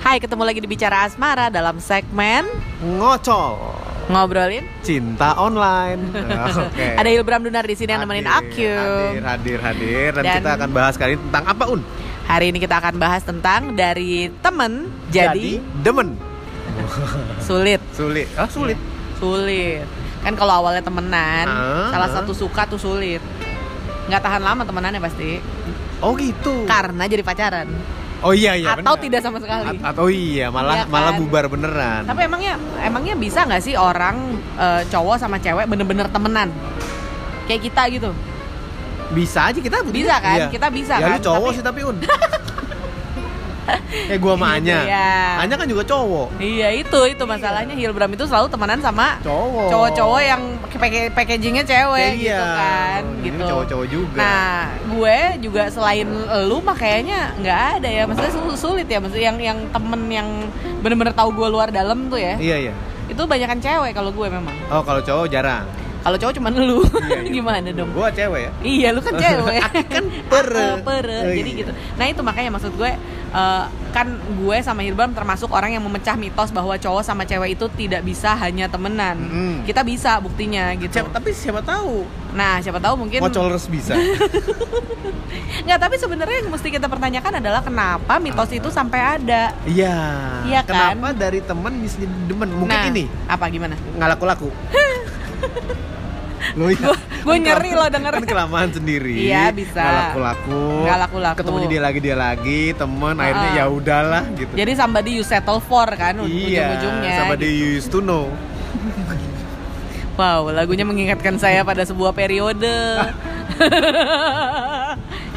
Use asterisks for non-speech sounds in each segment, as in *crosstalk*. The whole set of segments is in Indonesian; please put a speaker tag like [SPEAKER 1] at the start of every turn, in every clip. [SPEAKER 1] Hai, ketemu lagi di Bicara Asmara dalam segmen
[SPEAKER 2] ngocol
[SPEAKER 1] Ngobrolin.
[SPEAKER 2] cinta
[SPEAKER 1] *laughs*
[SPEAKER 2] online. Nah, Oke.
[SPEAKER 1] Ada Hilbram Dunar di sini yang nemenin
[SPEAKER 2] Hadir, Hadir,
[SPEAKER 1] Akyum.
[SPEAKER 2] hadir, hadir. Dan,
[SPEAKER 1] Dan-
[SPEAKER 2] kita akan bahas kali ini tentang apa un?
[SPEAKER 1] Hari ini kita akan bahas tentang dari temen jadi,
[SPEAKER 2] demen.
[SPEAKER 1] sulit.
[SPEAKER 2] Sulit. Ah sulit.
[SPEAKER 1] Sulit. Kan kalau awalnya temenan,
[SPEAKER 2] Ah,
[SPEAKER 1] salah
[SPEAKER 2] ah.
[SPEAKER 1] satu suka tuh sulit. Nggak tahan lama temenannya pasti
[SPEAKER 2] Oh gitu.
[SPEAKER 1] karena jadi pacaran
[SPEAKER 2] oh iya iya.
[SPEAKER 1] atau
[SPEAKER 2] benar.
[SPEAKER 1] tidak sama sekali.
[SPEAKER 2] At- atau iya
[SPEAKER 1] Iya
[SPEAKER 2] malah
[SPEAKER 1] kan?
[SPEAKER 2] malah bubar beneran.
[SPEAKER 1] Tapi emangnya emangnya bisa nggak sih orang eh, cowok sama cewek bener-bener temenan? Kayak kita gitu.
[SPEAKER 2] bisa aja kita tuh.
[SPEAKER 1] Bisa kan?
[SPEAKER 2] Iya.
[SPEAKER 1] Kita bisa
[SPEAKER 2] ya, lu
[SPEAKER 1] kan?
[SPEAKER 2] cowok
[SPEAKER 1] Tapi-
[SPEAKER 2] sih
[SPEAKER 1] *laughs*
[SPEAKER 2] tapi un. eh gua sama
[SPEAKER 1] Gitu,
[SPEAKER 2] Anya.
[SPEAKER 1] ya.
[SPEAKER 2] Anya kan juga cowok.
[SPEAKER 1] Iya itu itu masalahnya Hilbram itu selalu temenan sama
[SPEAKER 2] Cowok.
[SPEAKER 1] cowok-cowok yang pakai packagingnya cewek
[SPEAKER 2] Iya.
[SPEAKER 1] gitu kan
[SPEAKER 2] Ini
[SPEAKER 1] gitu.
[SPEAKER 2] cowok-cowok juga.
[SPEAKER 1] Nah, gue juga selain lu mah kayaknya nggak ada ya. Maksudnya sul- sulit ya. Maksudnya yang yang temen yang bener-bener tahu gue luar dalam tuh ya.
[SPEAKER 2] Iya iya.
[SPEAKER 1] Itu banyakan cewek kalau gue memang.
[SPEAKER 2] Oh kalau cowok jarang.
[SPEAKER 1] Kalau cowok cuman lu. *laughs*
[SPEAKER 2] Iya, iya.
[SPEAKER 1] Gimana dong?
[SPEAKER 2] Gua cewek ya.
[SPEAKER 1] Iya, lu kan
[SPEAKER 2] *laughs*
[SPEAKER 1] cewek.
[SPEAKER 2] Aki kan pere.
[SPEAKER 1] Aku pere.
[SPEAKER 2] Oh,
[SPEAKER 1] Jadi
[SPEAKER 2] iya.
[SPEAKER 1] gitu. Nah, itu makanya maksud gue eh, kan gue sama Hirbam termasuk orang yang memecah mitos bahwa cowok sama cewek itu tidak bisa hanya temenan.
[SPEAKER 2] Mm.
[SPEAKER 1] Kita bisa buktinya gitu.
[SPEAKER 2] Siapa, tapi siapa tahu
[SPEAKER 1] Nah, siapa tahu mungkin
[SPEAKER 2] ngocolers
[SPEAKER 1] *laughs*
[SPEAKER 2] bisa
[SPEAKER 1] nggak tapi sebenarnya yang mesti kita pertanyakan adalah kenapa mitos itu sampai ada.
[SPEAKER 2] iya
[SPEAKER 1] Iya kan?
[SPEAKER 2] kenapa dari temen bisa jadi demen mungkin
[SPEAKER 1] Nah,
[SPEAKER 2] ini
[SPEAKER 1] Apa gimana?
[SPEAKER 2] nggak laku laku
[SPEAKER 1] *laughs*
[SPEAKER 2] lo iya
[SPEAKER 1] Gue nyeri loh denger.
[SPEAKER 2] kan kelamaan sendiri
[SPEAKER 1] Iya, bisa.
[SPEAKER 2] nggak laku laku
[SPEAKER 1] Nggak laku-laku.
[SPEAKER 2] ketemu dia lagi dia lagi temen
[SPEAKER 1] Ha-ha.
[SPEAKER 2] akhirnya ya udahlah gitu
[SPEAKER 1] Jadi somebody you settle for kan u-
[SPEAKER 2] iya
[SPEAKER 1] ujung-ujungnya. gitu.
[SPEAKER 2] sama dia you used to know
[SPEAKER 1] Wow, lagunya mengingatkan saya pada sebuah
[SPEAKER 2] *laughs*
[SPEAKER 1] periode.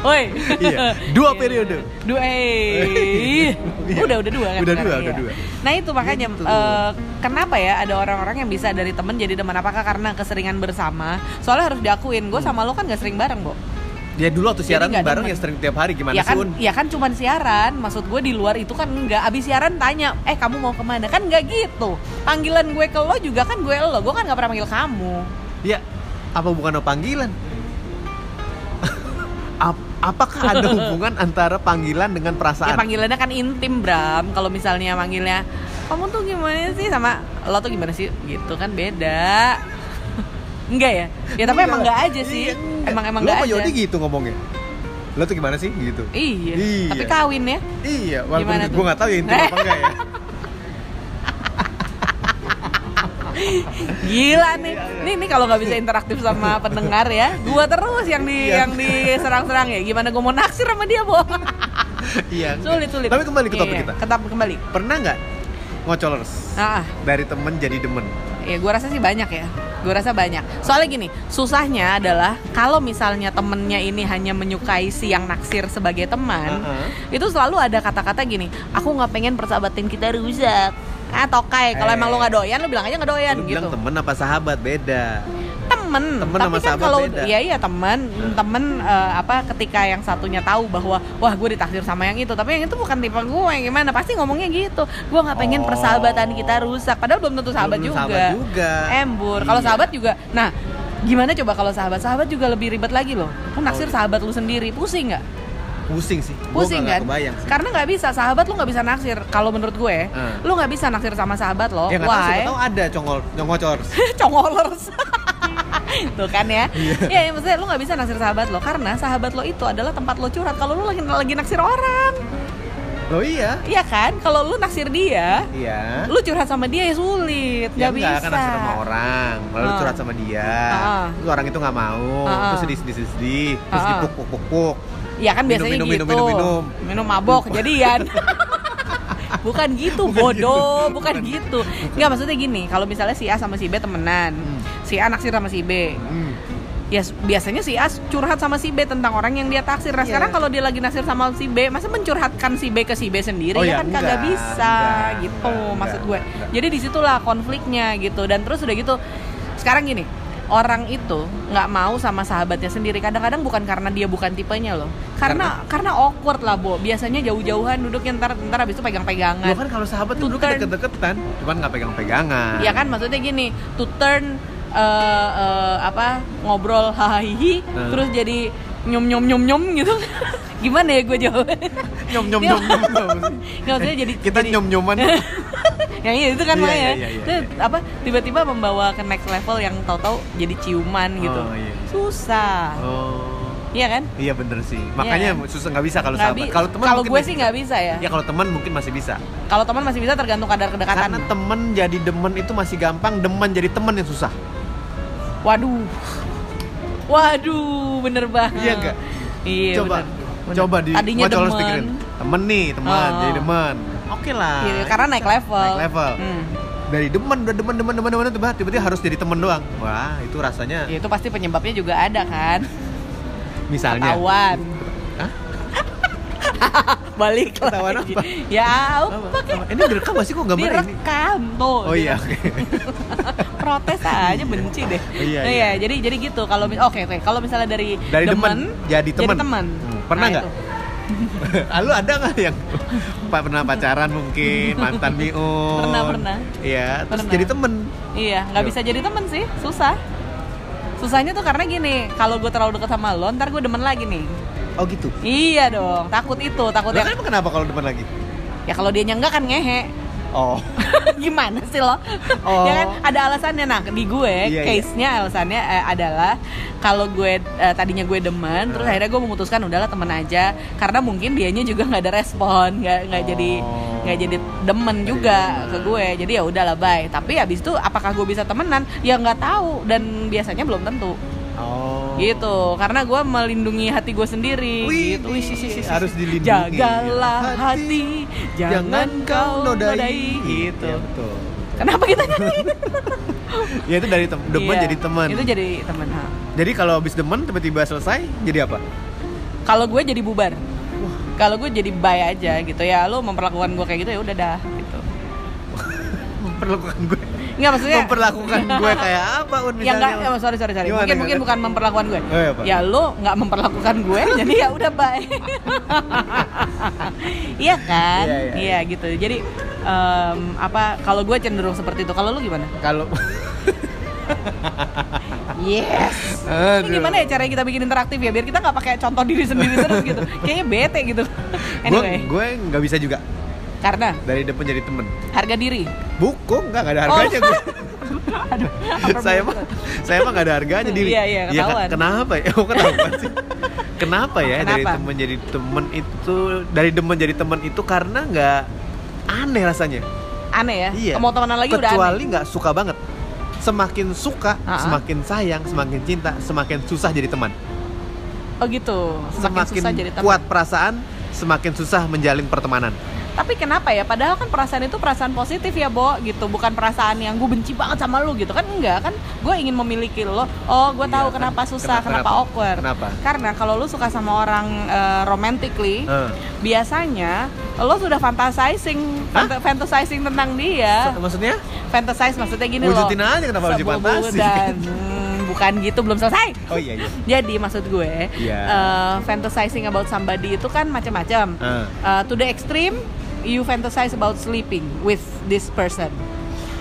[SPEAKER 1] Woi. *laughs*
[SPEAKER 2] Iya, dua periode.
[SPEAKER 1] Dua. eh.
[SPEAKER 2] Iya.
[SPEAKER 1] udah udah dua kan.
[SPEAKER 2] Udah
[SPEAKER 1] sekarang,
[SPEAKER 2] dua, udah
[SPEAKER 1] iya.
[SPEAKER 2] dua.
[SPEAKER 1] Nah, itu makanya
[SPEAKER 2] Gitu.
[SPEAKER 1] eh, kenapa ya ada orang-orang yang bisa dari temen jadi teman apakah karena keseringan bersama? Soalnya harus diakuin,
[SPEAKER 2] Hmm.
[SPEAKER 1] gue sama lo kan gak sering bareng, Bo.
[SPEAKER 2] dia dulu waktu
[SPEAKER 1] Jadi
[SPEAKER 2] siaran
[SPEAKER 1] nggak
[SPEAKER 2] bareng
[SPEAKER 1] demen.
[SPEAKER 2] ya sering tiap hari gimana
[SPEAKER 1] ya kan,
[SPEAKER 2] sih Un?
[SPEAKER 1] ya kan cuman siaran. Maksud gue di luar itu kan enggak. Abis siaran tanya, "Eh, kamu mau kemana?" Kan nggak gitu. Panggilan gue ke lo juga kan gue lo. Gue kan nggak pernah manggil kamu.
[SPEAKER 2] Ya, apa bukan panggilan? Ap- Apakah ada
[SPEAKER 1] *laughs*
[SPEAKER 2] hubungan antara panggilan
[SPEAKER 1] Ya,
[SPEAKER 2] dengan perasaan?
[SPEAKER 1] panggilannya kan intim Bram kalau misalnya manggilnya kamu tuh gimana sih sama lo tuh gimana sih gitu kan beda *laughs* enggak ya ya tapi emang enggak aja sih
[SPEAKER 2] Iya, enggak.
[SPEAKER 1] emang emang
[SPEAKER 2] Lo
[SPEAKER 1] enggak
[SPEAKER 2] sama
[SPEAKER 1] aja
[SPEAKER 2] Yodi gitu ngomongnya. Lo tuh gimana sih gitu?
[SPEAKER 1] iya.
[SPEAKER 2] Iya.
[SPEAKER 1] tapi kawin ya
[SPEAKER 2] Iya, walaupun
[SPEAKER 1] Gimana
[SPEAKER 2] gue
[SPEAKER 1] tuh?
[SPEAKER 2] nggak tahu ya intim apa
[SPEAKER 1] *laughs*
[SPEAKER 2] enggak ya.
[SPEAKER 1] gila nih nih nih kalau nggak bisa interaktif sama pendengar ya gua terus yang di
[SPEAKER 2] Iya.
[SPEAKER 1] yang diserang-serang ya gimana gua mau naksir sama dia boh
[SPEAKER 2] iya. enggak.
[SPEAKER 1] sulit sulit
[SPEAKER 2] Tapi kembali ke topik
[SPEAKER 1] Iya,
[SPEAKER 2] kita.
[SPEAKER 1] Ketam- kembali
[SPEAKER 2] Pernah nggak ngocolers
[SPEAKER 1] ah ah.
[SPEAKER 2] dari temen jadi demen?
[SPEAKER 1] Ya gue rasa sih banyak ya Gue rasa banyak Soalnya gini Susahnya adalah Kalau misalnya temennya ini hanya menyukai si yang naksir sebagai teman
[SPEAKER 2] Heeh.
[SPEAKER 1] Itu selalu ada kata-kata gini Aku nggak pengen persahabatan kita rusak Ah tokai Kalau
[SPEAKER 2] Eh.
[SPEAKER 1] emang lo nggak doyan Lo bilang aja nggak doyan
[SPEAKER 2] Lu
[SPEAKER 1] gitu
[SPEAKER 2] bilang temen apa sahabat beda.
[SPEAKER 1] Temen
[SPEAKER 2] Temen
[SPEAKER 1] Tapi
[SPEAKER 2] sama
[SPEAKER 1] kan
[SPEAKER 2] sahabat
[SPEAKER 1] kalau
[SPEAKER 2] beda.
[SPEAKER 1] Iya iya temen Temen eh, apa Ketika yang satunya tahu bahwa Wah gue ditaksir sama yang itu Tapi yang itu bukan tipe gue Gimana Pasti ngomongnya gitu Gue nggak pengen
[SPEAKER 2] Oh.
[SPEAKER 1] persahabatan kita rusak Padahal belum tentu sahabat
[SPEAKER 2] Belum
[SPEAKER 1] juga
[SPEAKER 2] Sahabat juga.
[SPEAKER 1] embur. Kalau
[SPEAKER 2] Iya.
[SPEAKER 1] sahabat juga, nah gimana coba kalau sahabat? Sahabat juga lebih ribet lagi loh. Lu naksir
[SPEAKER 2] gitu.
[SPEAKER 1] sahabat lu sendiri, pusing nggak?
[SPEAKER 2] pusing sih. Gua
[SPEAKER 1] Pusing
[SPEAKER 2] nggak
[SPEAKER 1] kan?
[SPEAKER 2] kebayang sih.
[SPEAKER 1] Karena nggak bisa sahabat lu nggak bisa naksir. Kalau menurut gue,
[SPEAKER 2] Hmm.
[SPEAKER 1] lu nggak bisa naksir sama sahabat lo.
[SPEAKER 2] Ya nggak tahu
[SPEAKER 1] Oh,
[SPEAKER 2] siapa
[SPEAKER 1] Why?
[SPEAKER 2] tahu ada congol congocolers.
[SPEAKER 1] *laughs* Congolers. Tuh kan ya. Iya, ya, maksudnya lu nggak bisa naksir sahabat lo karena sahabat lo itu adalah tempat lo curhat kalau lu lagi lagi naksir orang.
[SPEAKER 2] Loh iya.
[SPEAKER 1] Iya kan? Kalau lu naksir dia,
[SPEAKER 2] Iya.
[SPEAKER 1] lu curhat sama dia ya sulit, nggak
[SPEAKER 2] Ya
[SPEAKER 1] bisa.
[SPEAKER 2] enggak, kan naksir sama orang Lalu
[SPEAKER 1] Ah.
[SPEAKER 2] curhat sama dia
[SPEAKER 1] Ah.
[SPEAKER 2] Terus orang itu nggak mau
[SPEAKER 1] Ah.
[SPEAKER 2] Terus sedih-sedih-sedih Terus
[SPEAKER 1] Ah.
[SPEAKER 2] dipuk-puk-puk
[SPEAKER 1] Ya kan
[SPEAKER 2] Minum,
[SPEAKER 1] biasanya
[SPEAKER 2] minum,
[SPEAKER 1] gitu.
[SPEAKER 2] minum, minum, minum.
[SPEAKER 1] mabok
[SPEAKER 2] *laughs*
[SPEAKER 1] jadian. Bukan gitu, bodoh, bukan, gitu. Enggak maksudnya gini, kalau misalnya si A sama si B temenan.
[SPEAKER 2] Hmm.
[SPEAKER 1] Si A naksir sama si B.
[SPEAKER 2] Hmm.
[SPEAKER 1] Ya s- biasanya si A curhat sama si B tentang orang yang dia taksir. Nah,
[SPEAKER 2] Iya.
[SPEAKER 1] sekarang kalau dia lagi naksir sama si B, masa mencurhatkan si B ke si B sendiri
[SPEAKER 2] Oh,
[SPEAKER 1] ya
[SPEAKER 2] iya,
[SPEAKER 1] kan kagak
[SPEAKER 2] enggak,
[SPEAKER 1] bisa
[SPEAKER 2] enggak,
[SPEAKER 1] gitu
[SPEAKER 2] enggak,
[SPEAKER 1] maksud gue.
[SPEAKER 2] enggak, enggak.
[SPEAKER 1] Jadi disitulah konfliknya gitu dan terus udah gitu sekarang gini orang itu nggak mau sama sahabatnya sendiri kadang-kadang bukan karena dia bukan tipenya loh karena karena, awkward lah bo biasanya jauh-jauhan duduknya ntar ntar abis itu
[SPEAKER 2] Loh
[SPEAKER 1] pegang-pegangan
[SPEAKER 2] kan kalau sahabat
[SPEAKER 1] To
[SPEAKER 2] tuh dulu
[SPEAKER 1] turn.
[SPEAKER 2] kan deket-deketan Cuman nggak pegang-pegangan
[SPEAKER 1] ya kan maksudnya gini to turn eh, eh, apa ngobrol hahaha
[SPEAKER 2] Nah.
[SPEAKER 1] terus jadi nyum nyum nyum nyum gitu *laughs* gimana ya gue jawab *laughs*
[SPEAKER 2] nyom nyom *laughs* nyom nyom tau gak sih?
[SPEAKER 1] nggak maksudnya jadi
[SPEAKER 2] kita
[SPEAKER 1] jadi-
[SPEAKER 2] nyom nyoman
[SPEAKER 1] yang itu kan
[SPEAKER 2] Iya,
[SPEAKER 1] makanya
[SPEAKER 2] iya, iya, iya,
[SPEAKER 1] itu apa tiba-tiba membawa ke next level yang tahu-tahu jadi ciuman *laughs* gitu
[SPEAKER 2] Oh, iya.
[SPEAKER 1] susah
[SPEAKER 2] oh
[SPEAKER 1] iya kan
[SPEAKER 2] iya bener sih makanya
[SPEAKER 1] Iya.
[SPEAKER 2] susah nggak bisa kalau
[SPEAKER 1] Nggak
[SPEAKER 2] sahabat
[SPEAKER 1] bi-
[SPEAKER 2] kalau teman
[SPEAKER 1] kalau
[SPEAKER 2] mungkin
[SPEAKER 1] gue
[SPEAKER 2] bisa.
[SPEAKER 1] sih nggak bisa ya,
[SPEAKER 2] ya kalau teman mungkin masih bisa
[SPEAKER 1] kalau teman masih bisa tergantung kadar kedekatan
[SPEAKER 2] karena temen jadi demen itu masih gampang demen jadi temen yang susah
[SPEAKER 1] waduh waduh bener banget
[SPEAKER 2] Iya nggak?
[SPEAKER 1] iya
[SPEAKER 2] coba
[SPEAKER 1] bener. Bener.
[SPEAKER 2] coba di
[SPEAKER 1] tadinya
[SPEAKER 2] coba harus
[SPEAKER 1] demen.
[SPEAKER 2] pikirin. temen nih teman
[SPEAKER 1] Oh.
[SPEAKER 2] jadi demen oke lah
[SPEAKER 1] Iya, karena naik level
[SPEAKER 2] gitu. Naik level.
[SPEAKER 1] Hmm.
[SPEAKER 2] dari demen udah demen demen demen demen tiba tiba harus jadi temen doang wah itu rasanya
[SPEAKER 1] Ya, itu pasti penyebabnya juga ada kan
[SPEAKER 2] misalnya
[SPEAKER 1] tawan
[SPEAKER 2] Hah?
[SPEAKER 1] *laughs* balik
[SPEAKER 2] Ketahuan
[SPEAKER 1] lagi
[SPEAKER 2] apa?
[SPEAKER 1] ya
[SPEAKER 2] Apa?
[SPEAKER 1] apa kek
[SPEAKER 2] Apa? ini direkam gak sih kok gambarnya ini
[SPEAKER 1] direkam tuh gitu.
[SPEAKER 2] oh iya oke
[SPEAKER 1] *laughs*
[SPEAKER 2] *laughs*
[SPEAKER 1] protes aja benci deh.
[SPEAKER 2] Iya,
[SPEAKER 1] Nah,
[SPEAKER 2] iya.
[SPEAKER 1] ya, jadi jadi gitu kalau mi- oke oke kalau misalnya dari
[SPEAKER 2] dari demen, jadi temen,
[SPEAKER 1] teman.
[SPEAKER 2] Hmm, pernah
[SPEAKER 1] Nah,
[SPEAKER 2] nggak
[SPEAKER 1] itu.
[SPEAKER 2] lalu ada nggak yang pa- pernah pacaran mungkin mantan
[SPEAKER 1] *laughs*
[SPEAKER 2] miun
[SPEAKER 1] Pernah, pernah.
[SPEAKER 2] iya terus
[SPEAKER 1] Pernah.
[SPEAKER 2] jadi temen
[SPEAKER 1] Iya, nggak
[SPEAKER 2] Yuk.
[SPEAKER 1] bisa jadi temen sih, susah. Susahnya tuh karena gini, kalau gue terlalu deket sama lo, ntar gue demen lagi nih.
[SPEAKER 2] oh gitu
[SPEAKER 1] Iya dong, takut itu, takut
[SPEAKER 2] Lah, kan?
[SPEAKER 1] ya.
[SPEAKER 2] emang kenapa kalau demen lagi
[SPEAKER 1] Ya kalau dia nyenggak kan ngehe.
[SPEAKER 2] oh
[SPEAKER 1] Gimana sih lo?
[SPEAKER 2] Oh.
[SPEAKER 1] ya kan ada alasannya. Nah, di gue
[SPEAKER 2] Iya, iya.
[SPEAKER 1] case-nya alasannya eh, adalah kalau gue eh, tadinya gue demen, terus
[SPEAKER 2] Ah.
[SPEAKER 1] akhirnya gue memutuskan udahlah temen aja karena mungkin dianya juga nggak ada respon, nggak nggak jadi
[SPEAKER 2] Oh. Iya,
[SPEAKER 1] nggak jadi demen
[SPEAKER 2] Nggak
[SPEAKER 1] juga
[SPEAKER 2] jadi
[SPEAKER 1] ke
[SPEAKER 2] demen.
[SPEAKER 1] gue. Jadi ya udahlah bye. Tapi habis itu apakah gue bisa temenan? Ya nggak tahu dan biasanya belum tentu.
[SPEAKER 2] oh
[SPEAKER 1] *laughs* Gitu, karena gue melindungi hati gue sendiri.
[SPEAKER 2] Wih,
[SPEAKER 1] gitu.
[SPEAKER 2] wih,
[SPEAKER 1] Wih, sih, sih, sih,
[SPEAKER 2] harus
[SPEAKER 1] sih.
[SPEAKER 2] dilindungi.
[SPEAKER 1] Jagalah
[SPEAKER 2] Hati,
[SPEAKER 1] hati, jangan kau nodai. Gitu.
[SPEAKER 2] Iya, betul.
[SPEAKER 1] Kenapa kita nyanyi?
[SPEAKER 2] Ya itu dari tem- *laughs* demen
[SPEAKER 1] Iya,
[SPEAKER 2] jadi teman.
[SPEAKER 1] Itu jadi teman. ha.
[SPEAKER 2] Jadi kalau habis demen tiba-tiba selesai jadi apa?
[SPEAKER 1] Kalau gue jadi bubar. Kalau gue jadi bye aja gitu ya, lo memperlakukan gue kayak gitu ya udah dah gitu.
[SPEAKER 2] Memperlakukan gue.
[SPEAKER 1] Enggak maksudnya
[SPEAKER 2] Memperlakukan
[SPEAKER 1] *laughs*
[SPEAKER 2] gue kayak apa Un
[SPEAKER 1] ya enggak,
[SPEAKER 2] misalnya?
[SPEAKER 1] ya, sorry sorry sorry.
[SPEAKER 2] Gimana,
[SPEAKER 1] mungkin mungkin
[SPEAKER 2] gimana?
[SPEAKER 1] bukan memperlakukan gue.
[SPEAKER 2] Oh, iya, Pak.
[SPEAKER 1] ya lo nggak memperlakukan
[SPEAKER 2] *laughs*
[SPEAKER 1] gue, jadi ya udah bye. iya kan?
[SPEAKER 2] Iya,
[SPEAKER 1] Iya,
[SPEAKER 2] iya,
[SPEAKER 1] gitu. Jadi em, apa kalau gue cenderung seperti itu. Kalau lo gimana?
[SPEAKER 2] Kalau *laughs*
[SPEAKER 1] Yes.
[SPEAKER 2] Aduh.
[SPEAKER 1] Ini gimana ya caranya kita bikin interaktif ya biar kita nggak pakai contoh diri sendiri terus gitu. Kayaknya bete gitu.
[SPEAKER 2] Gue
[SPEAKER 1] Anyway,
[SPEAKER 2] gue nggak bisa juga
[SPEAKER 1] karena
[SPEAKER 2] dari demen jadi temen.
[SPEAKER 1] harga diri.
[SPEAKER 2] Buku nggak nggak ada harganya gue.
[SPEAKER 1] Oh. *laughs* Aduh, apa
[SPEAKER 2] *laughs* saya mah
[SPEAKER 1] bener?
[SPEAKER 2] saya mah nggak ada harganya diri.
[SPEAKER 1] Iya, iya,
[SPEAKER 2] Ya,
[SPEAKER 1] ketahuan.
[SPEAKER 2] kenapa ya? Oh, kenapa
[SPEAKER 1] *laughs*
[SPEAKER 2] sih? Kenapa ya dari
[SPEAKER 1] Kenapa?
[SPEAKER 2] temen jadi temen itu dari demen jadi temen itu karena nggak aneh rasanya.
[SPEAKER 1] aneh ya.
[SPEAKER 2] Iya.
[SPEAKER 1] Mau temenan lagi udah
[SPEAKER 2] Kecuali
[SPEAKER 1] aneh.
[SPEAKER 2] nggak suka banget. Semakin suka,
[SPEAKER 1] Ha-ha.
[SPEAKER 2] semakin sayang, semakin cinta, semakin susah jadi teman.
[SPEAKER 1] Oh gitu. Semakin,
[SPEAKER 2] Semakin
[SPEAKER 1] susah jadi teman.
[SPEAKER 2] kuat perasaan, semakin susah menjalin pertemanan.
[SPEAKER 1] Tapi kenapa ya? Padahal kan perasaan itu perasaan positif ya, Bo, gitu. Bukan perasaan yang gue benci banget sama lu gitu kan enggak kan? Gue ingin memiliki lo. Oh, gue
[SPEAKER 2] Iya,
[SPEAKER 1] tahu
[SPEAKER 2] kan.
[SPEAKER 1] kenapa susah, kenapa,
[SPEAKER 2] Kenapa- kenapa?
[SPEAKER 1] awkward.
[SPEAKER 2] Kenapa?
[SPEAKER 1] Karena kalau lu suka sama orang eh, romantically,
[SPEAKER 2] Eh.
[SPEAKER 1] biasanya lo sudah fantasizing fant- fantasizing tentang dia
[SPEAKER 2] Eh. Maksudnya?
[SPEAKER 1] fantasize maksudnya gini
[SPEAKER 2] Wujudin
[SPEAKER 1] loh
[SPEAKER 2] aja kenapa harus
[SPEAKER 1] Sebuah
[SPEAKER 2] difantasi?
[SPEAKER 1] dan hmm, bukan gitu belum selesai
[SPEAKER 2] Oh iya iya.
[SPEAKER 1] jadi maksud gue
[SPEAKER 2] Iya.
[SPEAKER 1] eh, fantasizing about somebody itu kan macam-macam
[SPEAKER 2] Eh.
[SPEAKER 1] Eh, to the extreme you fantasize about sleeping with this person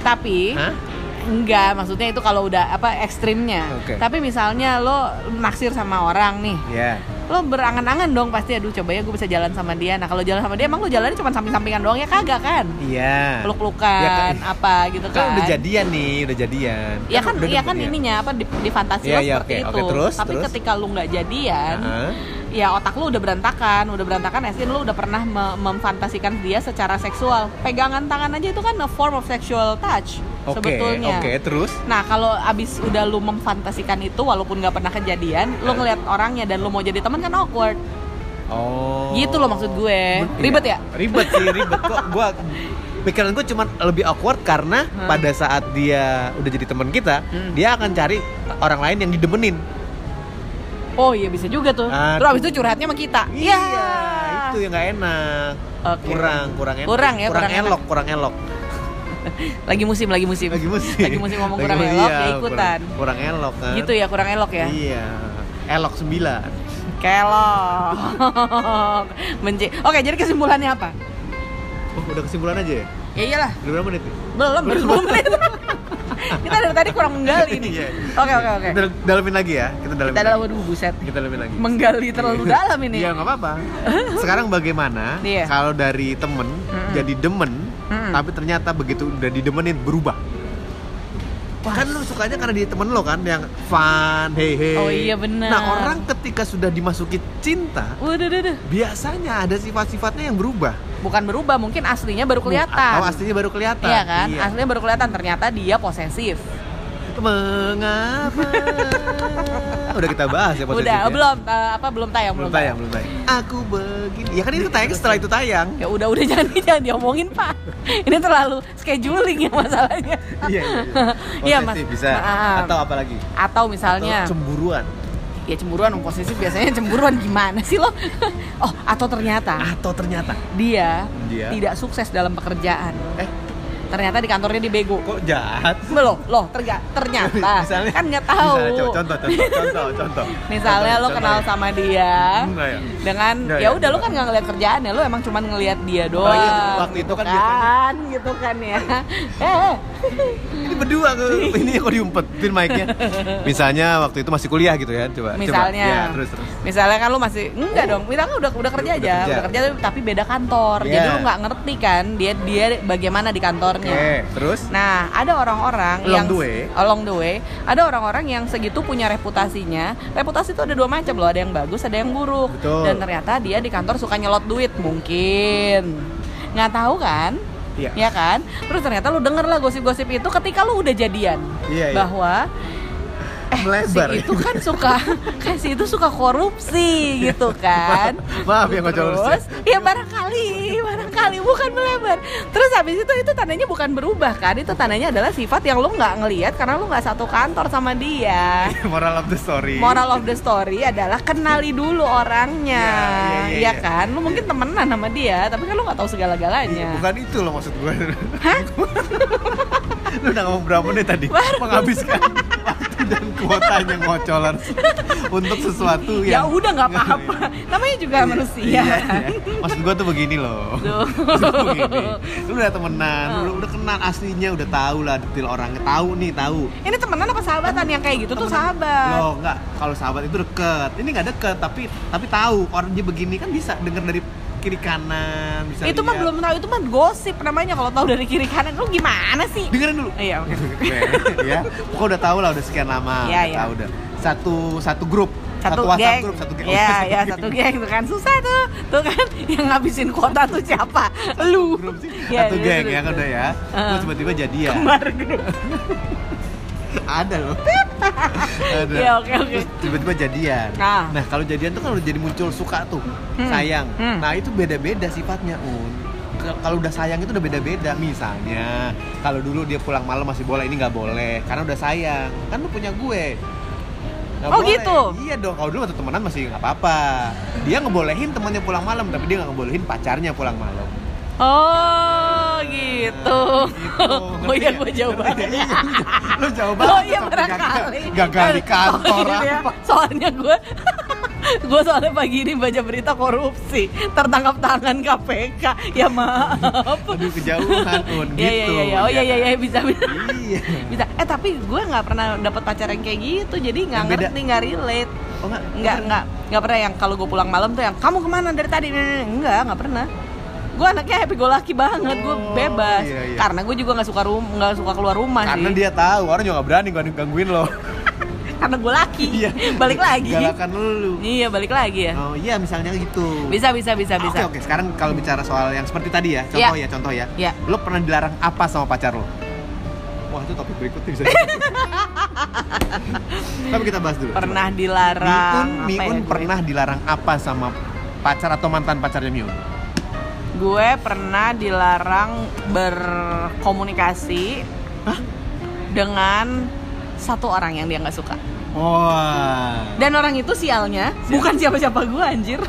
[SPEAKER 1] tapi
[SPEAKER 2] Hah?
[SPEAKER 1] Enggak, maksudnya itu kalau udah apa ekstrimnya.
[SPEAKER 2] Oke.
[SPEAKER 1] Tapi misalnya lo naksir sama orang nih,
[SPEAKER 2] Ya.
[SPEAKER 1] lo berangan-angan dong pasti aduh coba ya gue bisa jalan sama dia nah kalau jalan sama dia emang lo jalannya cuma samping-sampingan doang ya kagak kan
[SPEAKER 2] Iya.
[SPEAKER 1] peluk-pelukan
[SPEAKER 2] Ya kan.
[SPEAKER 1] apa gitu kan
[SPEAKER 2] Kan udah jadian nih, udah jadian.
[SPEAKER 1] ya kan
[SPEAKER 2] udah
[SPEAKER 1] ya
[SPEAKER 2] demen,
[SPEAKER 1] kan
[SPEAKER 2] iya.
[SPEAKER 1] ininya apa di, di fantasi
[SPEAKER 2] Iya,
[SPEAKER 1] lo
[SPEAKER 2] iya,
[SPEAKER 1] seperti
[SPEAKER 2] oke,
[SPEAKER 1] itu
[SPEAKER 2] oke, terus,
[SPEAKER 1] tapi
[SPEAKER 2] terus.
[SPEAKER 1] ketika lo nggak jadian
[SPEAKER 2] Heeh.
[SPEAKER 1] ya otak lo udah berantakan udah berantakan esin lo udah pernah me- memfantasikan dia secara seksual pegangan tangan aja itu kan a form of sexual touch
[SPEAKER 2] Oke,
[SPEAKER 1] sebetulnya
[SPEAKER 2] Oke, terus
[SPEAKER 1] Nah, kalau abis udah lu memfantasikan itu, walaupun nggak pernah kejadian, lu ngeliat orangnya dan lu mau jadi teman kan awkward.
[SPEAKER 2] Oh. Iya.
[SPEAKER 1] Gitu loh maksud gue. Ribet ya?
[SPEAKER 2] Ribet sih, ribet kok. Gua pikiran gue cuman lebih awkward karena
[SPEAKER 1] Hmm.
[SPEAKER 2] pada saat dia udah jadi teman kita,
[SPEAKER 1] Hmm.
[SPEAKER 2] dia akan cari orang lain yang didemenin.
[SPEAKER 1] Oh iya bisa juga tuh.
[SPEAKER 2] Aduh.
[SPEAKER 1] Terus abis itu curhatnya sama kita.
[SPEAKER 2] Iya, itu yang nggak enak.
[SPEAKER 1] Ya. Oke.
[SPEAKER 2] Kurang, kurang enak.
[SPEAKER 1] Kurang ya, kurang
[SPEAKER 2] elok, kurang elok.
[SPEAKER 1] Lagi musim, lagi musim.
[SPEAKER 2] Lagi musim.
[SPEAKER 1] Lagi musim ngomong kurang
[SPEAKER 2] musim,
[SPEAKER 1] elok,
[SPEAKER 2] iya,
[SPEAKER 1] ya ikutan.
[SPEAKER 2] Kurang, kurang elok kan.
[SPEAKER 1] Gitu ya kurang elok ya.
[SPEAKER 2] Iya. Elok 9.
[SPEAKER 1] *laughs* Kelok. Benci. Oke, jadi kesimpulannya apa?
[SPEAKER 2] Oh, udah kesimpulan aja ya?
[SPEAKER 1] Ya iyalah.
[SPEAKER 2] Udah berapa menit? nih?
[SPEAKER 1] Belum, *laughs* belum. belum. kita dari tadi kurang menggali nih
[SPEAKER 2] Iya.
[SPEAKER 1] oke oke oke
[SPEAKER 2] Kita dalamin lagi ya. Kita dalamin.
[SPEAKER 1] kita dalam
[SPEAKER 2] lagi.
[SPEAKER 1] waduh buset
[SPEAKER 2] Kita dalamin lagi.
[SPEAKER 1] menggali terlalu dalam ini
[SPEAKER 2] Iya nggak
[SPEAKER 1] *laughs*
[SPEAKER 2] apa-apa. Sekarang bagaimana
[SPEAKER 1] Iya.
[SPEAKER 2] kalau dari temen
[SPEAKER 1] Mm-mm.
[SPEAKER 2] jadi demen,
[SPEAKER 1] Mm-mm.
[SPEAKER 2] tapi ternyata begitu udah didemenin berubah.
[SPEAKER 1] Wah.
[SPEAKER 2] Kan lu sukanya karena di temen lo kan yang fun, hey hey.
[SPEAKER 1] Oh iya, benar.
[SPEAKER 2] Nah orang ketika sudah dimasuki cinta,
[SPEAKER 1] waduh duh, duh.
[SPEAKER 2] biasanya ada sifat-sifatnya yang berubah.
[SPEAKER 1] bukan berubah mungkin aslinya baru kelihatan
[SPEAKER 2] Atau aslinya baru kelihatan.
[SPEAKER 1] iya kan aslinya baru kelihatan ternyata dia posesif *laughs*
[SPEAKER 2] Mengapa? Udah kita bahas ya
[SPEAKER 1] udah
[SPEAKER 2] posesifnya.
[SPEAKER 1] belum eh, apa belum tayang
[SPEAKER 2] Belum tayang, belum tayang. Aku begini. Ya kan itu tayang setelah itu tayang.
[SPEAKER 1] ya udah udah *laughs* jangan jangan diomongin pak ini terlalu scheduling ya masalahnya
[SPEAKER 2] Iya, iya.
[SPEAKER 1] *laughs* Iya,
[SPEAKER 2] iya.
[SPEAKER 1] Mas.
[SPEAKER 2] Posesif bisa.
[SPEAKER 1] Maaf.
[SPEAKER 2] Atau apa lagi?
[SPEAKER 1] atau misalnya
[SPEAKER 2] Atau cemburuan.
[SPEAKER 1] ya cemburuan om posesif biasanya cemburuan gimana sih lo *laughs* oh atau ternyata
[SPEAKER 2] Atau ternyata
[SPEAKER 1] dia,
[SPEAKER 2] Dia.
[SPEAKER 1] tidak sukses dalam pekerjaan
[SPEAKER 2] eh
[SPEAKER 1] ternyata di kantornya dia bego
[SPEAKER 2] kok jahat?
[SPEAKER 1] loh loh terga- ternyata kan nggak tahu
[SPEAKER 2] *laughs* Misalnya, co- contoh,
[SPEAKER 1] *laughs*
[SPEAKER 2] contoh, contoh, contoh.
[SPEAKER 1] misalnya lo
[SPEAKER 2] Contoh,
[SPEAKER 1] kenal
[SPEAKER 2] contoh.
[SPEAKER 1] sama dia
[SPEAKER 2] Hmm, iya.
[SPEAKER 1] dengan
[SPEAKER 2] Iya,
[SPEAKER 1] ya
[SPEAKER 2] iya,
[SPEAKER 1] udah lo
[SPEAKER 2] coba.
[SPEAKER 1] kan nggak ngeliat kerjaannya lo emang cuman ngeliat dia doang
[SPEAKER 2] iya, waktu itu kan biasanya-
[SPEAKER 1] kan, gitu kan
[SPEAKER 2] *laughs*
[SPEAKER 1] ya eh
[SPEAKER 2] Ini berdua
[SPEAKER 1] *laughs*
[SPEAKER 2] ke- ini kok diumpetin mic-nya. Misalnya waktu itu masih kuliah gitu ya, coba. coba.
[SPEAKER 1] misalnya
[SPEAKER 2] Ya, terus terus. Eh?
[SPEAKER 1] misalnya kan lo masih enggak dong misalnya kan udah udah kerja
[SPEAKER 2] Udah
[SPEAKER 1] aja
[SPEAKER 2] kerja.
[SPEAKER 1] udah kerja tapi beda kantor
[SPEAKER 2] Iya.
[SPEAKER 1] jadi lo nggak ngerti kan dia dia bagaimana di
[SPEAKER 2] Oke,
[SPEAKER 1] kantornya
[SPEAKER 2] terus *laughs*
[SPEAKER 1] Nah, ada orang-orang
[SPEAKER 2] Along
[SPEAKER 1] yang
[SPEAKER 2] the way.
[SPEAKER 1] along the way, ada orang-orang yang segitu punya reputasinya. Reputasi itu ada dua macam loh, ada yang bagus, ada yang buruk.
[SPEAKER 2] Betul.
[SPEAKER 1] Dan ternyata dia di kantor suka nyelot duit mungkin. Nggak tahu kan?
[SPEAKER 2] Iya.
[SPEAKER 1] Ya kan? Terus ternyata lu denger lah gosip-gosip itu ketika lu udah jadian.
[SPEAKER 2] Iya, iya.
[SPEAKER 1] Bahwa eh,
[SPEAKER 2] melebar. ya.
[SPEAKER 1] si itu kan suka *laughs* kayak si itu suka korupsi gitu kan
[SPEAKER 2] Maaf ya, nggak jauh
[SPEAKER 1] terus ya barangkali barangkali bukan melebar terus habis itu itu tandanya bukan berubah kan itu tandanya adalah sifat yang lo nggak ngelihat karena lo nggak satu kantor sama dia
[SPEAKER 2] Moral of the story.
[SPEAKER 1] moral of the story adalah kenali dulu orangnya
[SPEAKER 2] Iya, iya, iya,
[SPEAKER 1] ya
[SPEAKER 2] iya.
[SPEAKER 1] kan lo mungkin temenan sama dia tapi kan lo nggak tahu
[SPEAKER 2] Iya,
[SPEAKER 1] segala-galanya
[SPEAKER 2] bukan itu loh maksud gue. Hah? *laughs* Lu udah ngomong berapa menit tadi? Menghabiskan waktu dan kuotanya ngocolan untuk sesuatu
[SPEAKER 1] ya
[SPEAKER 2] yang
[SPEAKER 1] udah nggak
[SPEAKER 2] *laughs*
[SPEAKER 1] apa-apa namanya juga manusia
[SPEAKER 2] Iya, iya. Maksud gue tuh begini loh.
[SPEAKER 1] Tuh.
[SPEAKER 2] *laughs* Maksud gua begini. Lu udah temenan, lu udah kenal aslinya, udah tahu lah detail orangnya, tahu nih, tahu.
[SPEAKER 1] ini temenan apa sahabatan yang kayak gitu tuh sahabat
[SPEAKER 2] Loh, enggak. Kalau sahabat itu deket. Ini nggak deket, tapi tapi tahu orang dia begini kan bisa denger dari kiri kanan, bisa
[SPEAKER 1] itu mah
[SPEAKER 2] lihat.
[SPEAKER 1] belum tahu itu mah gosip namanya kalau tahu dari kiri kanan lu gimana sih
[SPEAKER 2] dengerin dulu.
[SPEAKER 1] iya oke
[SPEAKER 2] *laughs* ya pokoknya udah tahu lah udah sekian
[SPEAKER 1] Iya,
[SPEAKER 2] lama udah
[SPEAKER 1] iya.
[SPEAKER 2] tahu udah satu satu grup satu, WhatsApp grup satu geng *laughs*
[SPEAKER 1] ya ya satu geng tuh kan susah tuh tuh kan *laughs* yang ngabisin kuota tuh siapa lu
[SPEAKER 2] grup sih
[SPEAKER 1] Iya,
[SPEAKER 2] satu
[SPEAKER 1] iya,
[SPEAKER 2] geng
[SPEAKER 1] betul,
[SPEAKER 2] ya kan
[SPEAKER 1] betul.
[SPEAKER 2] udah ya terus tiba-tiba ya. jadian
[SPEAKER 1] kembar grup
[SPEAKER 2] ada loh *laughs* ada
[SPEAKER 1] Iya, oke, oke.
[SPEAKER 2] Terus tiba-tiba jadian
[SPEAKER 1] Ah.
[SPEAKER 2] nah kalau jadian tuh kan udah jadi muncul suka tuh
[SPEAKER 1] Hmm.
[SPEAKER 2] sayang
[SPEAKER 1] Hmm.
[SPEAKER 2] nah itu beda-beda sifatnya un K- kalau udah sayang itu udah beda-beda misalnya kalau dulu dia pulang malam masih boleh ini nggak boleh karena udah sayang kan lu punya gue Nggak
[SPEAKER 1] Oh, gitu?
[SPEAKER 2] Iya dong, kalau dulu waktu temenan masih nggak apa-apa Dia ngebolehin temannya pulang malam, tapi dia nggak ngebolehin pacarnya pulang malam
[SPEAKER 1] oh gitu
[SPEAKER 2] Gitu,
[SPEAKER 1] *laughs*
[SPEAKER 2] ngerti
[SPEAKER 1] oh iya
[SPEAKER 2] ya?
[SPEAKER 1] gua jauh
[SPEAKER 2] Ngerti.
[SPEAKER 1] banget
[SPEAKER 2] Lu jauh banget
[SPEAKER 1] *laughs* Oh iya Oh,
[SPEAKER 2] sama
[SPEAKER 1] barangkali
[SPEAKER 2] gagal- Gagal di kantor
[SPEAKER 1] *laughs* Soalnya-
[SPEAKER 2] apa
[SPEAKER 1] Soalnya *laughs* gue Gue soalnya pagi ini baca berita korupsi Tertangkap tangan KPK Ya maaf
[SPEAKER 2] Aduh kejauhan Un,
[SPEAKER 1] Iya iya
[SPEAKER 2] gitu
[SPEAKER 1] iya iya. Oh iya iya
[SPEAKER 2] kan?
[SPEAKER 1] iya bisa bisa.
[SPEAKER 2] Iya.
[SPEAKER 1] Bisa. Eh tapi gue nggak pernah dapat pacar yang kayak gitu jadi nggak
[SPEAKER 2] Yang beda.
[SPEAKER 1] ngerti nggak relate.
[SPEAKER 2] Oh enggak,
[SPEAKER 1] Nggak nggak nggak pernah yang kalau gue pulang malam tuh yang kamu kemana dari tadi nggak nggak pernah. Gue anaknya happy go lucky banget, gue
[SPEAKER 2] Oh,
[SPEAKER 1] bebas.
[SPEAKER 2] iya, iya.
[SPEAKER 1] Karena gue juga nggak suka rum nggak suka keluar rumah
[SPEAKER 2] Karena
[SPEAKER 1] sih.
[SPEAKER 2] dia tahu, orang juga gak berani gangguin- gangguin
[SPEAKER 1] *laughs*
[SPEAKER 2] lo
[SPEAKER 1] Karena gue laki.
[SPEAKER 2] Iya.
[SPEAKER 1] Iya,
[SPEAKER 2] *laughs*
[SPEAKER 1] balik lagi.
[SPEAKER 2] Galakan lu
[SPEAKER 1] Iya balik lagi ya.
[SPEAKER 2] Oh iya misalnya gitu
[SPEAKER 1] Bisa bisa bisa bisa.
[SPEAKER 2] Oke oke, sekarang kalau bicara soal yang seperti tadi ya Contoh
[SPEAKER 1] Iya.
[SPEAKER 2] ya, contoh ya
[SPEAKER 1] Iya.
[SPEAKER 2] Lo pernah dilarang apa sama pacar lo? Wah itu topik berikutnya
[SPEAKER 1] *laughs*
[SPEAKER 2] bisa Tapi kita bahas dulu
[SPEAKER 1] Pernah
[SPEAKER 2] Miun,
[SPEAKER 1] dilarang. apa ya
[SPEAKER 2] Miun
[SPEAKER 1] gue?
[SPEAKER 2] pernah dilarang apa sama pacar atau mantan pacarnya Miun?
[SPEAKER 1] Gue pernah dilarang berkomunikasi dengan satu orang yang dia nggak suka.
[SPEAKER 2] Wah.
[SPEAKER 1] Dan orang itu sialnya
[SPEAKER 2] Sial.
[SPEAKER 1] bukan siapa-siapa gue anjir.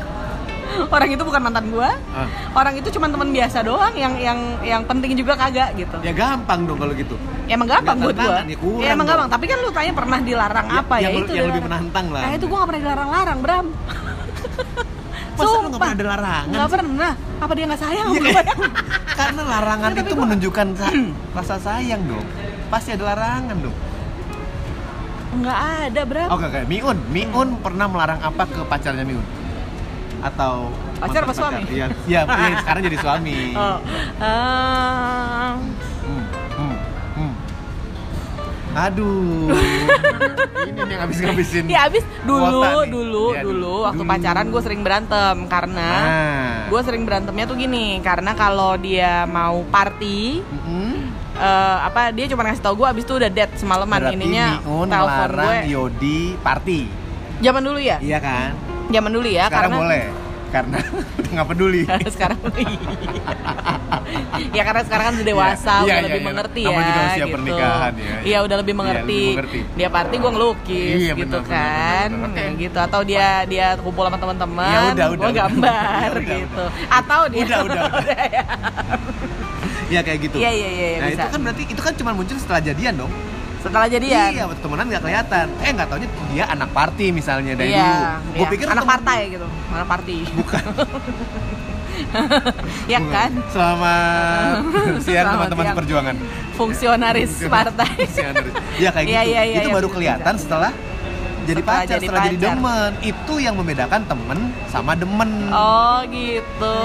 [SPEAKER 1] Orang itu bukan mantan gue.
[SPEAKER 2] Ah.
[SPEAKER 1] Orang itu cuma teman biasa doang yang yang yang penting juga kagak gitu.
[SPEAKER 2] Ya gampang dong kalau gitu.
[SPEAKER 1] Ya, emang gampang
[SPEAKER 2] Nggak
[SPEAKER 1] buat gue.
[SPEAKER 2] tantangan, ya kurang
[SPEAKER 1] Ya, emang
[SPEAKER 2] dong.
[SPEAKER 1] gampang. Tapi kan lu tanya pernah dilarang
[SPEAKER 2] Ya,
[SPEAKER 1] apa ya,
[SPEAKER 2] yang lu-
[SPEAKER 1] itu.
[SPEAKER 2] yang lebih
[SPEAKER 1] dilarang.
[SPEAKER 2] menantang lah.
[SPEAKER 1] Nah itu gue gak pernah dilarang-larang Bram.
[SPEAKER 2] *laughs* Masa lu
[SPEAKER 1] Sumpah.
[SPEAKER 2] nggak pernah ada larangan?
[SPEAKER 1] Nggak pernah. Apa dia nggak sayang?
[SPEAKER 2] Iya,
[SPEAKER 1] sama gue?
[SPEAKER 2] Karena larangan
[SPEAKER 1] Nggak, Hmm. tapi
[SPEAKER 2] itu
[SPEAKER 1] gua-
[SPEAKER 2] menunjukkan sa- rasa sayang dong. pasti ada larangan dong.
[SPEAKER 1] *laughs* nggak ada berapa
[SPEAKER 2] Oke, oke. Miun,
[SPEAKER 1] Hmm.
[SPEAKER 2] Miun pernah melarang apa ke pacarnya Miun? Atau
[SPEAKER 1] Pacar apa
[SPEAKER 2] mantan
[SPEAKER 1] suami?
[SPEAKER 2] Iya, iya, iya, sekarang jadi suami.
[SPEAKER 1] *laughs* Oh. Eh,
[SPEAKER 2] Hmm, hmm, hmm. Aduh. *laughs* Ini nih yang habis ngabisin.
[SPEAKER 1] ya abis dulu
[SPEAKER 2] kuota nih.
[SPEAKER 1] dulu
[SPEAKER 2] Iya,
[SPEAKER 1] dulu waktu
[SPEAKER 2] dulu.
[SPEAKER 1] pacaran gue sering berantem karena
[SPEAKER 2] Nah.
[SPEAKER 1] gue sering berantemnya tuh gini karena kalau dia mau party
[SPEAKER 2] Mm-mm.
[SPEAKER 1] eh, apa dia cuma ngasih tau gue abis itu udah dead semalaman
[SPEAKER 2] Berarti
[SPEAKER 1] ininya telepon
[SPEAKER 2] Miun melarang
[SPEAKER 1] gue
[SPEAKER 2] Yodi party.
[SPEAKER 1] zaman dulu ya
[SPEAKER 2] Iya kan?
[SPEAKER 1] zaman dulu ya
[SPEAKER 2] Sekarang
[SPEAKER 1] karena
[SPEAKER 2] boleh. Karena *laughs* udah nggak
[SPEAKER 1] *laughs*
[SPEAKER 2] peduli.
[SPEAKER 1] Karena *laughs* sekarang ya karena sekarang kan udah dewasa
[SPEAKER 2] Iya,
[SPEAKER 1] udah
[SPEAKER 2] iya,
[SPEAKER 1] lebih
[SPEAKER 2] iya.
[SPEAKER 1] mengerti ya
[SPEAKER 2] Namanya juga usia
[SPEAKER 1] gitu.
[SPEAKER 2] pernikahan ya, iya.
[SPEAKER 1] Iya, udah lebih
[SPEAKER 2] Iya,
[SPEAKER 1] mengerti.
[SPEAKER 2] lebih mengerti.
[SPEAKER 1] Dia party gue ngelukis
[SPEAKER 2] Iya,
[SPEAKER 1] gitu
[SPEAKER 2] benar, benar,
[SPEAKER 1] kan.
[SPEAKER 2] benar, benar. Oke.
[SPEAKER 1] Gitu atau dia dia kumpul sama
[SPEAKER 2] Ya
[SPEAKER 1] teman-teman,
[SPEAKER 2] udah, udah,
[SPEAKER 1] gue
[SPEAKER 2] udah.
[SPEAKER 1] gambar
[SPEAKER 2] Ya *laughs* udah,
[SPEAKER 1] gitu. Atau dia
[SPEAKER 2] Udah, udah, udah.
[SPEAKER 1] ya.
[SPEAKER 2] Iya kayak gitu.
[SPEAKER 1] *laughs* Iya, iya, iya,
[SPEAKER 2] Nah,
[SPEAKER 1] bisa.
[SPEAKER 2] itu kan berarti itu kan cuma muncul setelah jadian dong.
[SPEAKER 1] Setelah jadian.
[SPEAKER 2] Iya, waktu temenan nggak kelihatan. Eh nggak taunya dia anak party misalnya dari
[SPEAKER 1] Iya,
[SPEAKER 2] dulu.
[SPEAKER 1] iya.
[SPEAKER 2] Nah, Gua pikir
[SPEAKER 1] anak
[SPEAKER 2] temen-
[SPEAKER 1] partai gitu. Anak party. Bukan. *laughs* ya
[SPEAKER 2] Bukan.
[SPEAKER 1] kan? *laughs*
[SPEAKER 2] Selamat siang
[SPEAKER 1] Selamat
[SPEAKER 2] teman-teman
[SPEAKER 1] siang.
[SPEAKER 2] perjuangan.
[SPEAKER 1] Fungsionaris partai.
[SPEAKER 2] Iya kayak
[SPEAKER 1] Iya,
[SPEAKER 2] gitu.
[SPEAKER 1] iya, iya,
[SPEAKER 2] itu
[SPEAKER 1] iya,
[SPEAKER 2] baru
[SPEAKER 1] bisa,
[SPEAKER 2] kelihatan setelah jadi
[SPEAKER 1] Setelah
[SPEAKER 2] pacar,
[SPEAKER 1] jadi
[SPEAKER 2] setelah jadi
[SPEAKER 1] pacar.
[SPEAKER 2] demen. Itu yang membedakan temen sama demen.
[SPEAKER 1] Oh gitu,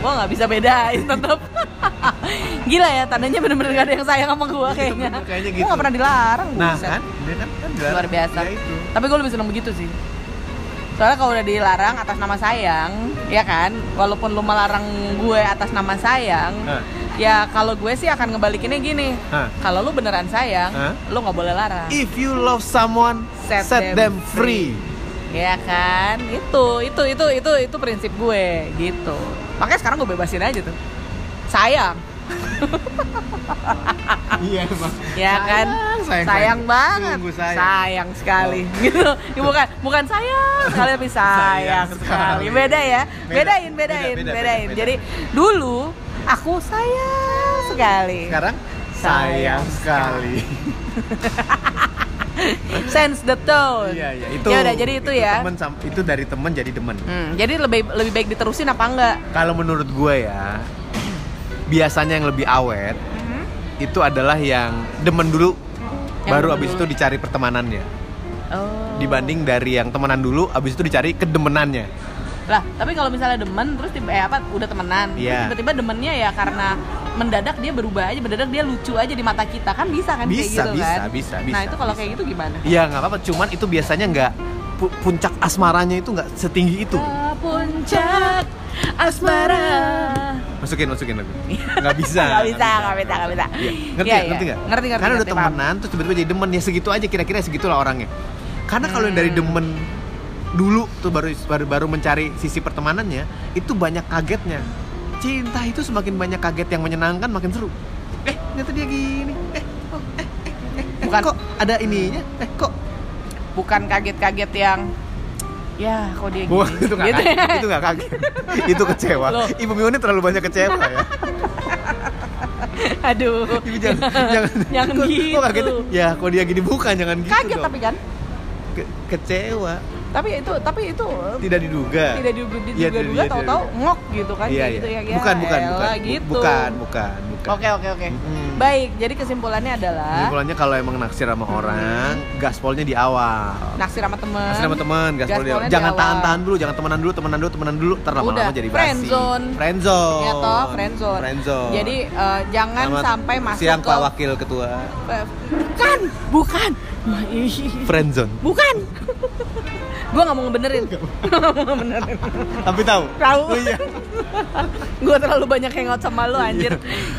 [SPEAKER 1] gua nggak bisa bedain tetap. *laughs* Gila ya, tandanya bener-bener gak ada yang sayang sama gua kayaknya.
[SPEAKER 2] bener, kayaknya
[SPEAKER 1] Gua
[SPEAKER 2] gitu.
[SPEAKER 1] nggak pernah dilarang.
[SPEAKER 2] Nah
[SPEAKER 1] buset.
[SPEAKER 2] kan, dia kan, kan dilarang.
[SPEAKER 1] luar biasa.
[SPEAKER 2] Ya, itu.
[SPEAKER 1] Tapi gua lebih seneng begitu sih. Soalnya kalau udah dilarang atas nama sayang, ya kan, walaupun lu melarang gue atas nama sayang,
[SPEAKER 2] Hah.
[SPEAKER 1] ya kalau gue sih akan ngebalikinnya gini.
[SPEAKER 2] Hah.
[SPEAKER 1] Kalau lu beneran sayang,
[SPEAKER 2] Hah.
[SPEAKER 1] lu nggak boleh larang.
[SPEAKER 2] If you love someone, set, them, free.
[SPEAKER 1] *laughs* Ya kan? Itu, itu, itu, itu, itu prinsip gue gitu. Makanya sekarang gue bebasin aja tuh. Sayang,
[SPEAKER 2] Iya, Mas.
[SPEAKER 1] ya kan?
[SPEAKER 2] sayang,
[SPEAKER 1] banget.
[SPEAKER 2] Sungguh sayang. Oh.
[SPEAKER 1] sekali *laughs* gitu. Ya, bukan bukan sayang sekali tapi sayang,
[SPEAKER 2] Sayang
[SPEAKER 1] sekali.
[SPEAKER 2] sekali.
[SPEAKER 1] Beda ya.
[SPEAKER 2] Beda.
[SPEAKER 1] Bedain, bedain,
[SPEAKER 2] Beda,
[SPEAKER 1] bedain.
[SPEAKER 2] beda, beda, beda.
[SPEAKER 1] Jadi dulu aku sayang sekali.
[SPEAKER 2] Sekarang
[SPEAKER 1] Sayang
[SPEAKER 2] sayang sekali. *laughs*
[SPEAKER 1] Sense the tone.
[SPEAKER 2] Iya, iya, itu.
[SPEAKER 1] Ya udah jadi itu, ya.
[SPEAKER 2] temen sam- itu dari temen jadi demen.
[SPEAKER 1] Hmm, jadi lebih lebih baik diterusin apa enggak?
[SPEAKER 2] Kalau menurut gue ya, biasanya yang lebih awet itu adalah yang demen dulu
[SPEAKER 1] Hmm? Yang
[SPEAKER 2] baru
[SPEAKER 1] demen
[SPEAKER 2] abis
[SPEAKER 1] dulu.
[SPEAKER 2] itu dicari pertemanannya
[SPEAKER 1] Oh.
[SPEAKER 2] dibanding dari yang temenan dulu abis itu dicari kedemenannya
[SPEAKER 1] lah tapi kalau misalnya demen terus tiba eh apa udah temenan terus
[SPEAKER 2] Iya.
[SPEAKER 1] tiba-tiba demennya ya karena mendadak dia berubah aja mendadak dia lucu aja di mata kita kan bisa kan kayak
[SPEAKER 2] Bisa,
[SPEAKER 1] gitu
[SPEAKER 2] bisa,
[SPEAKER 1] kan
[SPEAKER 2] bisa,
[SPEAKER 1] nah
[SPEAKER 2] bisa,
[SPEAKER 1] itu kalau
[SPEAKER 2] bisa.
[SPEAKER 1] kayak gitu gimana
[SPEAKER 2] ya nggak apa-apa cuman itu biasanya nggak pu- puncak asmaranya itu nggak setinggi itu
[SPEAKER 1] Ke puncak asmara
[SPEAKER 2] masukin masukin lagi nggak bisa
[SPEAKER 1] *laughs* nggak bisa nggak bisa nggak bisa
[SPEAKER 2] Iya. ngerti
[SPEAKER 1] Iya,
[SPEAKER 2] nggak?
[SPEAKER 1] iya.
[SPEAKER 2] ngerti nggak
[SPEAKER 1] ngerti ngerti
[SPEAKER 2] karena udah
[SPEAKER 1] ngerti, paham.
[SPEAKER 2] temenan terus tiba-tiba jadi demen ya segitu aja kira-kira segitulah orangnya karena kalau yang
[SPEAKER 1] Hmm.
[SPEAKER 2] dari demen dulu tuh baru baru baru mencari sisi pertemanannya itu banyak kagetnya cinta itu semakin banyak kaget yang menyenangkan makin seru eh ternyata dia gini eh oh, eh, eh, eh, eh,
[SPEAKER 1] Bukan.
[SPEAKER 2] kok ada ininya eh kok
[SPEAKER 1] bukan kaget-kaget yang ya kok dia
[SPEAKER 2] Wah,
[SPEAKER 1] gini *laughs*
[SPEAKER 2] itu nggak
[SPEAKER 1] Gitu.
[SPEAKER 2] kaget, itu nggak
[SPEAKER 1] *laughs*
[SPEAKER 2] kaget, itu kecewa.
[SPEAKER 1] Loh.
[SPEAKER 2] Ibu Miuni terlalu banyak kecewa ya.
[SPEAKER 1] aduh
[SPEAKER 2] Ibu Iya, jangan, jangan,
[SPEAKER 1] Jangan
[SPEAKER 2] kok,
[SPEAKER 1] gitu.
[SPEAKER 2] Kok kaget? Ya, kok dia gini bukan, jangan gitu.
[SPEAKER 1] kaget
[SPEAKER 2] dong.
[SPEAKER 1] tapi kan
[SPEAKER 2] Ke- kecewa,
[SPEAKER 1] tapi itu tapi itu
[SPEAKER 2] tidak diduga.
[SPEAKER 1] tidak diduga
[SPEAKER 2] Iya,
[SPEAKER 1] diduga
[SPEAKER 2] iya,
[SPEAKER 1] duga
[SPEAKER 2] iya,
[SPEAKER 1] tahu-tahu
[SPEAKER 2] iya.
[SPEAKER 1] ngok gitu kan
[SPEAKER 2] Iya,
[SPEAKER 1] kayak
[SPEAKER 2] iya.
[SPEAKER 1] gitu ya, ya
[SPEAKER 2] bukan, bukan,
[SPEAKER 1] elah,
[SPEAKER 2] bukan, Bu-
[SPEAKER 1] gitu.
[SPEAKER 2] bukan, bukan, bukan.
[SPEAKER 1] Oke oke oke.
[SPEAKER 2] Mm-mm.
[SPEAKER 1] Baik, jadi kesimpulannya adalah
[SPEAKER 2] Kesimpulannya kalau emang naksir sama orang, gaspolnya di awal.
[SPEAKER 1] naksir sama temen.
[SPEAKER 2] Naksir sama temen, gaspol di awal.
[SPEAKER 1] Gaspolnya di
[SPEAKER 2] Jangan
[SPEAKER 1] awal.
[SPEAKER 2] tahan-tahan dulu, jangan temenan dulu, temenan dulu, temenan dulu, ntar lama-lama
[SPEAKER 1] Udah,
[SPEAKER 2] jadi basi.
[SPEAKER 1] friendzone.
[SPEAKER 2] Friendzone.
[SPEAKER 1] Ya toh, friendzone.
[SPEAKER 2] Friendzone.
[SPEAKER 1] Jadi eh, jangan
[SPEAKER 2] Selamat
[SPEAKER 1] sampai masuk
[SPEAKER 2] siang
[SPEAKER 1] ke
[SPEAKER 2] Pak Wakil Ketua.
[SPEAKER 1] Eh, bukan, bukan. Wah, ih,
[SPEAKER 2] Friendzone.
[SPEAKER 1] Bukan. gua nggak mau ngebenerin. Nggak mau ngebenerin.
[SPEAKER 2] Tapi tahu.
[SPEAKER 1] Tahu.
[SPEAKER 2] Oh, iya.
[SPEAKER 1] Gua terlalu banyak hangout sama lu anjir.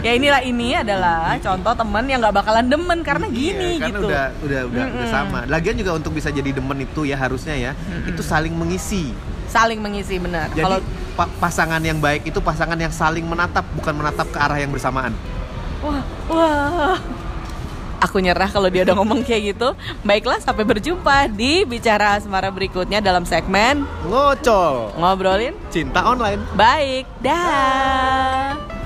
[SPEAKER 1] ya inilah ini adalah contoh temen yang nggak bakalan demen karena gini
[SPEAKER 2] Iya, karena
[SPEAKER 1] gitu.
[SPEAKER 2] udah udah udah, udah
[SPEAKER 1] Mm-mm.
[SPEAKER 2] sama. Lagian juga untuk bisa jadi demen itu ya harusnya ya, itu saling mengisi.
[SPEAKER 1] Saling mengisi benar.
[SPEAKER 2] Jadi
[SPEAKER 1] Kalau
[SPEAKER 2] pa- pasangan yang baik itu pasangan yang saling menatap bukan menatap ke arah yang bersamaan.
[SPEAKER 1] Wah, wah. Aku nyerah kalau dia udah ngomong kayak gitu. Baiklah, sampai berjumpa di bicara asmara berikutnya dalam segmen
[SPEAKER 2] Ngocol.
[SPEAKER 1] ngobrolin
[SPEAKER 2] Cinta online.
[SPEAKER 1] baik. Dah.